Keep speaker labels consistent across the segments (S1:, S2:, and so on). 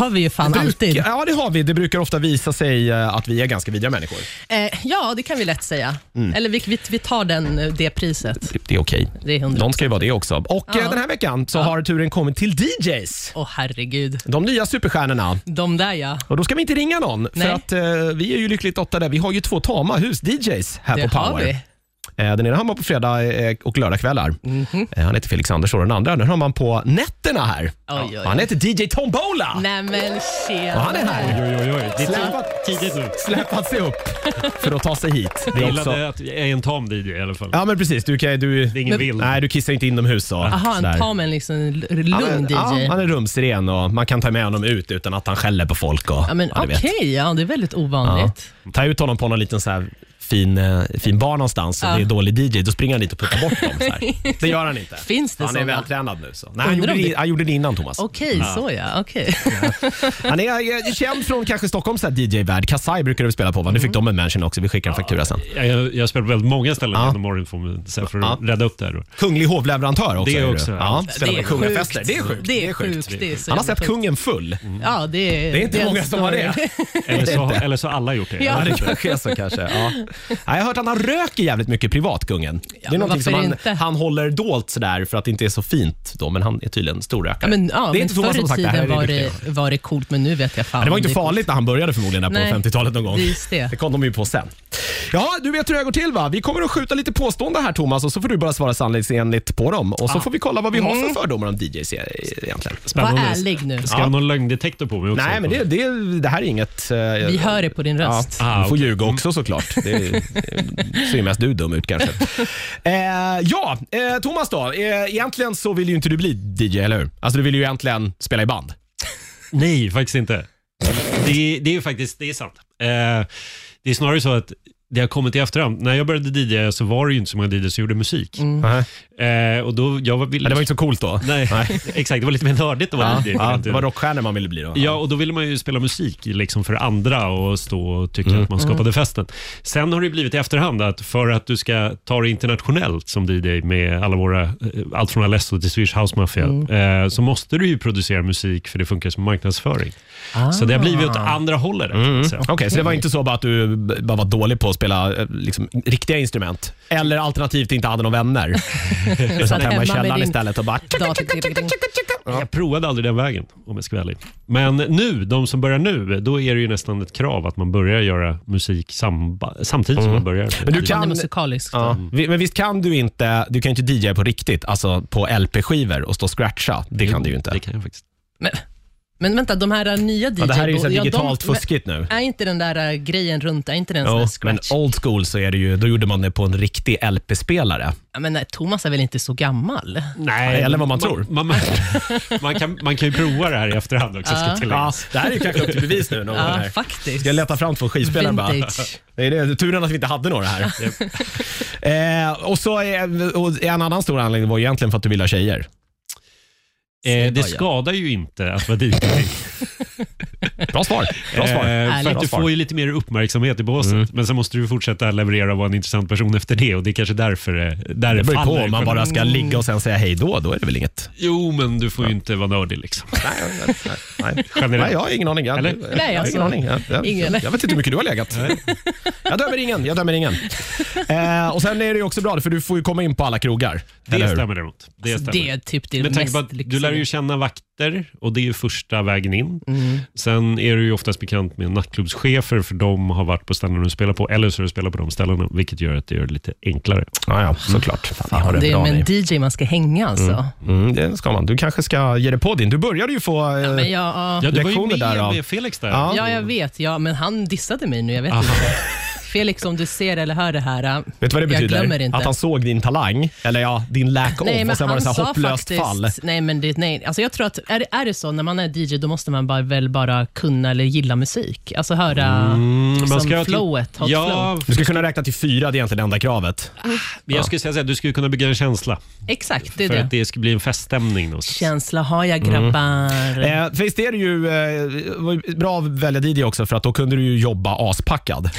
S1: har vi ju fan
S2: Bruk-
S1: alltid.
S2: Ja, det har vi. Det brukar ofta visa sig eh, att vi är ganska vidriga människor.
S1: Eh, ja, det kan vi lätt säga.
S2: Mm.
S1: Eller vi, vi, vi tar den, eh, det priset.
S2: Det, det är okej.
S1: Det är hundra.
S2: Någon ska ju vara det också. Och eh,
S1: Ja.
S2: Den här veckan så har turen kommit till DJs.
S1: Åh herregud,
S2: De nya superstjärnorna.
S1: de där ja.
S2: Och Då ska vi inte ringa någon,
S1: Nej.
S2: för att eh, vi är ju lyckligt lottade. Vi har ju två tama hus-DJs här
S1: Det
S2: på Power.
S1: har vi.
S2: Eh, Den ena har man på fredag eh, och lördagkvällar. Eh, Han heter Felix Anders och den andra den har man på nätterna här.
S1: oj, oj.
S2: Han heter DJ Tombola.
S1: Nej men
S2: Och han
S1: tjena.
S2: är här.
S3: Oj, oj, oj. Det är
S2: Släpat,
S3: ti- tidigt nu.
S2: släpat sig upp för att ta sig hit. Det
S3: Jag
S2: är också...
S3: gillade att jag är en tam DJ i alla fall.
S2: Ja men precis, du, kan, du,
S3: Det är ingen vild.
S2: nej, du kissar inte inomhus. så.
S1: Jaha,
S2: Sådär.
S1: en tamen liksom l-
S2: Han är-
S1: lugn
S2: Ja,
S1: DJ.
S2: han är rumsren och man kan ta med honom ut utan att han skäller på folk. Och,
S1: Ja, men
S2: ja, du
S1: okej,
S2: vet.
S1: ja, det är väldigt
S2: Ja.
S1: ovanligt.
S2: Ta ut honom på någon liten så här fin, eh, fin bar någonstans och
S1: Ja.
S2: det är dålig DJ, då springer han dit och puttar bort dem. Så här. Det gör han inte.
S1: Finns det
S2: han är
S1: såna?
S2: vältränad nu. Så. Nej, han,
S1: Undrar
S2: gjorde
S1: om
S2: det,
S1: det-
S2: han gjorde det innan Thomas.
S1: Okej, så ja. Okej.
S2: Han är eh, känd från kanske Stockholms så här DJ-värld. Kasai brukar vi spela på. Va?
S1: Mm.
S2: Nu fick de en mention också. Vi skickar en faktura sen.
S3: Jag, jag, jag spelar på väldigt många ställen
S2: Ja.
S3: genom åren för, sen för att
S2: Ja.
S3: rädda upp det här. då.
S2: Kunglig hovleverantör också.
S3: Det
S2: är du.
S3: också,
S2: Ja,
S3: ja.
S2: spelar på kungafester. Det är sjukt.
S1: Det är sjukt. Det är så
S2: Han har
S1: jävla
S2: sett
S1: sjukt.
S2: kungen full.
S1: Ja, det är,
S2: Det är inte
S1: en
S2: många som har
S1: story.
S2: det.
S3: Eller så,
S2: Inte.
S3: eller så har alla gjort det.
S1: Ja.
S2: Ja, det kanske är så. Kanske. Ja. Ja, jag har hört att han röker jävligt mycket privat, kungen. det är
S1: men
S2: någonting som
S1: varför
S2: han,
S1: inte?
S2: han håller dolt sådär för att det inte är så fint, då, men han är tydligen storrökare.
S1: Ja, men, ja,
S2: det är
S1: men
S2: inte Thomas
S1: förr
S2: som
S1: i
S2: har sagt det. här
S1: tiden
S2: är
S1: var
S2: riktiga.
S1: det, var det coolt, men nu vet jag fan.
S2: Ja, det var
S1: om
S2: inte
S1: är coolt.
S2: farligt när han började förmodligen där på
S1: Nej.
S2: 50-talet någon gång.
S1: Just det.
S2: kom de ju på sen. Ja, du vet hur det här går till va? Vi kommer att skjuta lite påstående här Thomas och så får du bara svara sanningsenligt på dem. Och så får vi kolla vad vi har
S1: Mm.
S2: för fördomar om DJs e- egentligen.
S1: Var
S3: Spännande.
S1: ärlig nu.
S3: Ska jag ha någon lögndetektor på mig också?
S2: Nej, men det, det, det här är inget... eh,
S1: Vi hör det på din röst.
S2: Ja, du får
S3: Ah, okej.
S2: ljuga också såklart. Det eh, ser ju mest du dum ut kanske. Eh, ja, eh, Thomas då. Eh, egentligen så vill ju inte du bli DJ, eller hur? Alltså du vill ju egentligen spela i band.
S3: Nej, faktiskt inte. Det, det är ju faktiskt det är sant. Eh, det är snarare så att det har kommit i efterhand. När jag började DJ så var det ju inte så många DJs som gjorde musik.
S2: Nej.
S3: Eh, och då, jag var, ville,
S2: Det var inte så coolt då.
S3: Nej, exakt. Det var lite mer nördigt att vara
S2: Ja,
S3: DJ. på
S2: ja,
S3: den
S2: det
S3: tiden.
S2: var rockstjärnor man ville bli då.
S3: Ja, och då ville man ju spela musik liksom för andra och stå och tycka
S2: Mm,
S3: att man skapade festen. Sen har det blivit i efterhand att för att du ska ta det internationellt som DJ med alla våra, eh, allt från Alesso till Swedish House Mafia,
S2: Mm.
S3: eh, så måste du ju producera musik för det funkar som marknadsföring. Så det har blivit
S2: Ah.
S3: åt andra hållet.
S2: Mm,
S3: Så.
S2: Okej, så det var inte så bara att du b- bara var dålig på att spela eh, liksom, riktiga instrument? Eller alternativt inte hade några vänner? Du satt hemma i
S1: hemma med
S2: källaren
S1: din-
S2: istället och bara...
S3: Jag provade aldrig den vägen om jag ska vara ärlig. Men nu, de som börjar nu, då är det ju nästan ett krav att man börjar göra musik samba- samtidigt som man börjar.
S2: Mm. Men du
S1: Han är
S2: kan...
S1: musikalisk.
S2: Ja.
S3: Mm.
S2: vi- Men visst kan du inte Du kan ju inte DJa på riktigt, alltså på LP-skivor och stå och scratcha? Det kan du ju inte.
S3: Det kan jag faktiskt.
S1: Men, men vänta, de här äh, nya DJ...
S2: Ja, det här är ju så här
S1: ja, de-
S2: digitalt
S1: men
S2: fuskigt nu.
S1: Är inte den där äh, grejen runt, är inte den sån
S2: Jo,
S1: där
S2: men
S1: scratch?
S2: old school så är det ju, då gjorde man det på en riktig LP-spelare.
S1: Ja, men nej, Thomas är väl inte så gammal?
S3: Nej,
S2: Eller vad man tror.
S3: Eh, Man, man, man, kan, man kan ju prova det här i efterhand också. Ska tilläggas.
S2: det här är ju kanske upp till bevis nu. Någon
S1: Ja,
S2: här.
S1: faktiskt.
S2: Ska jag leta fram två skivspelare bara?
S1: Vintage.
S2: Det är det, turen att vi inte hade några här. eh, och så är, och en annan stor anledning var egentligen för att du ville ha tjejer.
S3: Eh, det
S1: bara ja.
S3: skadar ju inte att vara DJ.
S2: Bra svar. Bra svar.
S3: Eh, för
S2: Bra
S3: att du
S2: svar. Mm.
S3: får ju lite mer uppmärksamhet i båset. Men sen måste du fortsätta leverera och vara en intressant person efter det. Och Det är kanske därför det-
S2: Det
S3: där
S2: beror ju på
S3: faller.
S2: om man bara ska ligga och sen säga hej då. Då är det väl inget.
S3: Jo, men du får ju inte vara nördig. Liksom.
S2: Nej, nej, nej.
S3: Generellt.
S2: nej jag har ingen aning. Jag,
S3: Eller?
S2: jag,
S1: Nej,
S2: jag har
S1: alltså,
S2: ingen aning. Jag, jag,
S1: ingen.
S2: jag vet inte hur mycket du har legat. jag dömer ingen. Jag dömer ingen. Eh, och sen är det ju också bra, för du får ju komma in på alla krogar. eller
S3: Det
S2: hur?
S3: stämmer däremot. Det
S1: Alltså,
S3: stämmer.
S1: det är typ det
S3: Med tanke
S1: mest
S3: på att du
S1: lyxiga.
S3: lär ju känna vakter och det är ju första vägen in.
S1: Mm.
S3: Sen är du ju oftast bekant med nattklubbschefer för de har varit på ställen du spelar på eller så har du spelat på de ställena vilket gör att det gör det lite enklare.
S2: Ja, ja, såklart. Fan, ni har
S1: Mm. Det är
S2: bra,
S1: med
S2: ni.
S1: en DJ man ska hänga alltså.
S2: Mm, det ska man. Du kanske ska ge dig på din. Du började ju få... eh,
S1: Men jag,
S3: Ja, du var ju
S2: Lektioner
S3: med,
S2: därav.
S3: med Felix där.
S2: Ja.
S1: Ja, jag vet. Ja, men han dissade mig nu. Jag vet inte. Felix, om du ser eller hör det här. äh,
S2: Vet du vad det betyder?
S1: Jag glömmer inte.
S2: Att han såg din talang, eller ja, din lack off och sen var det så här
S1: sa
S2: hopplöst fall.
S1: Nej, men det, nej. Alltså jag tror att är, det- är det så när man är DJ, då måste man bara, väl bara kunna eller gilla musik. Alltså höra
S2: Mm,
S1: liksom,
S3: ha ett-
S1: flowet, hot flow.
S3: ja,
S2: Du ska kunna räkna till fyra, det är egentligen det enda kravet.
S3: men jag skulle säga att du skulle kunna bygga en känsla
S1: Exakt, det är
S3: för
S1: det.
S3: att det ska bli en feststämning. någonstans.
S1: Känsla har jag grabbar.
S2: Mm. Eh, för visst är det ju eh, var ju bra att välja DJ också för att då kunde du ju jobba aspackad.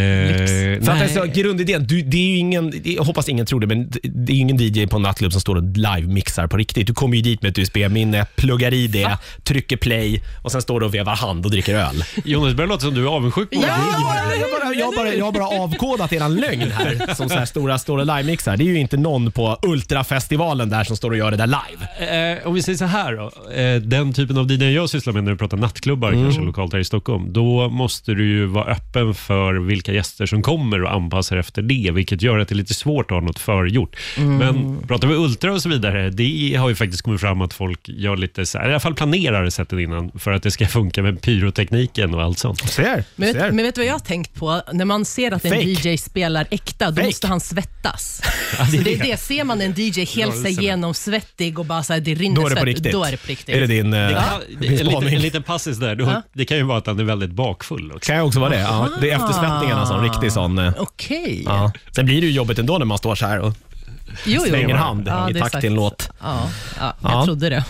S3: Eh,
S2: För att alltså, grundidén, du, det är ju ingen, det- jag hoppas ingen tror det, men det- det är ju ingen DJ på en nattklubb som står och live-mixar på riktigt. Du kommer ju dit med ett USB-minne, pluggar i det, trycker play och sen står du och vevar hand och dricker öl.
S3: Jonas, det börjar låta som du är avundsjuk på
S2: Jag
S3: mig.
S2: har bara, jag bara, jag har bara, jag har bara avkodat eran lögn här, som så här stora står och live-mixar. Det är ju inte någon på Ultrafestivalen där som står och gör det där live.
S3: Eh, om vi säger så här då. Eh, den typen av DJ jag sysslar med när vi pratar nattklubbar, kanske lokalt här i Stockholm, då måste du ju vara öppen för vilka gäster som kommer och anpassa dig efter det, vilket gör att det är lite svårt att ha något förgjort. Men pratar vi Ultra och så vidare, det har ju faktiskt kommit fram att folk gör lite så här, i alla fall planerar det sättet innan, för att det ska funka med pyrotekniken och allt sånt.
S2: Ser,
S1: Men
S2: ser.
S1: vet, men vet du vad jag har tänkt på? När man ser att en
S2: Fake.
S1: DJ spelar äkta, då
S2: Fake.
S1: måste han svettas. det,
S3: det är
S1: så det,
S3: det.
S1: är det ser man en DJ helt sig
S3: Rörelserna.
S1: genomsvettig och bara så här, det rinner
S2: Då är det på
S1: svett,
S2: riktigt.
S1: Då är det på riktigt.
S2: Är det din, eh,
S3: Det kan,
S2: din
S3: en, liten,
S2: spaning?
S3: en liten passus där, då,
S1: Ja.
S3: det kan ju vara att han är väldigt bakfull också.
S2: Kan jag också vara det? Ja, det är eftersvettningen alltså,
S1: Ah.
S2: en riktig sån. eh,
S1: Okej.
S2: Ja. Sen blir det ju jobbigt ändå när man står så här och
S1: Jo, jo.
S2: slänger hand
S1: Ja,
S2: i
S1: det är
S2: takt
S1: sagt.
S2: till en låt.
S1: Ja, ja, jag
S2: Ja.
S1: trodde det.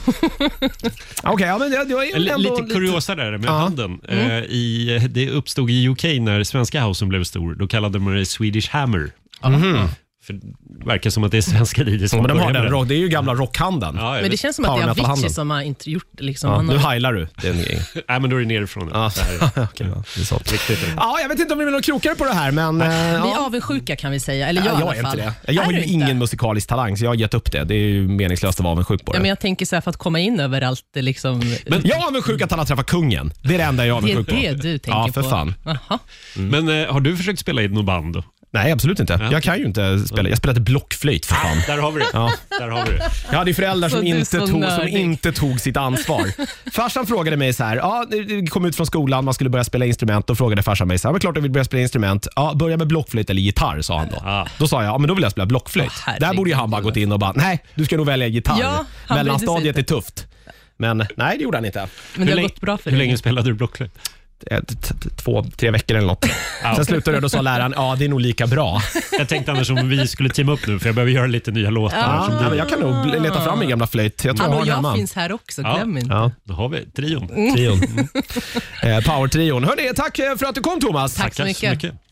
S2: Okej, ja, men det, det var ju
S3: L-
S2: ändå
S3: lite kuriosa där med
S2: Ja. Mm.
S3: handen. Eh, i, det uppstod i UK när svenska housen blev stor. Då kallade man det Swedish Hammer. För det verkar som att det är svenska DJs som
S2: Mhm. Men de har
S3: börjar med
S2: den, rock- det är ju gamla rockhandeln.
S3: Ja, jag
S1: Men det
S3: vet.
S1: känns som att det
S2: Power
S1: är
S2: metal-handen.
S1: Avicii som har inte gjort det. Liksom.
S2: Ja,
S1: Han
S2: nu
S1: har,
S2: heilar du. Det är en grej.
S3: Nej, men då är det nerifrån. nu.
S2: Ja.
S3: Så här.
S2: Okej, ja, det är sant.
S3: Riktigt.
S2: Ja, jag vet inte om vi blir någon klokare på det här, men... eh,
S1: vi
S2: ja.
S1: är avundsjuka kan vi säga. Eller jag,
S2: Ja,
S1: i
S2: jag
S1: alla
S2: är inte
S1: fall.
S2: det. Jag har
S1: Är
S2: ju
S1: du
S2: ingen
S1: inte?
S2: musikalisk talang, så jag har gett upp det. Det är ju meningslöst att vara avundsjuk
S1: Ja,
S2: på det.
S1: men jag tänker så här, för att komma in överallt. det Liksom,
S2: Men jag är avundsjuk att han har träffat kungen. Det är det enda jag är
S1: det är
S2: avundsjuk på.
S1: det du tänker
S2: Ja, för
S1: på.
S2: fan.
S1: Jaha.
S2: Mm.
S3: Men eh, har du försökt spela i något band? Då?
S2: Nej, absolut inte. Jag kan ju inte spela. Jag spelade blockflöjt,
S1: Ah.
S2: för fan.
S3: Där har vi det.
S2: Ja.
S3: Där har vi det.
S2: Jag hade ju föräldrar
S1: Så
S2: som
S1: du är
S2: inte,
S1: så
S2: tog, som
S1: nördig.
S2: inte tog sitt ansvar. Farsan frågade mig så här, ja, vi kom ut från skolan, man skulle börja spela instrument. Då frågade farsan mig så här, men klart jag vill börja spela instrument. Ja, börja med blockflöjt eller gitarr, sa han då.
S3: Ah.
S2: Då sa jag, ja, men då vill jag spela blockflöjt.
S1: Åh, herregud.
S2: Där borde ju han bara gått in och bara, nej, du ska nog välja gitarr.
S1: Ja, han brydde sig
S2: Mellanstadiet
S1: inte.
S2: är tufft. Men nej, det gjorde han inte.
S1: Men det
S3: Hur
S1: har
S3: länge-
S1: gått bra för
S3: Hur
S1: dig.
S3: länge spelade du blockflöjt?
S2: Eh, t- t- Två, tre veckor eller något. Sen slutade jag och sa läraren, ja det är nog lika bra.
S3: Jag tänkte annars om vi skulle teama upp nu, för jag behöver göra lite nya låtar. här
S2: Ja,
S3: som du-
S2: men jag kan nog leta fram min gamla flöjt. Jag tror jag
S1: Hallå,
S2: har den
S1: jag
S2: hemma.
S1: finns här också.
S3: Ja.
S1: Glöm inte.
S2: Ja.
S3: Då har vi trion.
S2: Mm.
S3: Mm.
S2: Trion. eh, Power-trion. Hörni, tack eh, för att du kom Thomas.
S1: Tack så
S3: Tackar
S1: mycket.
S3: så mycket.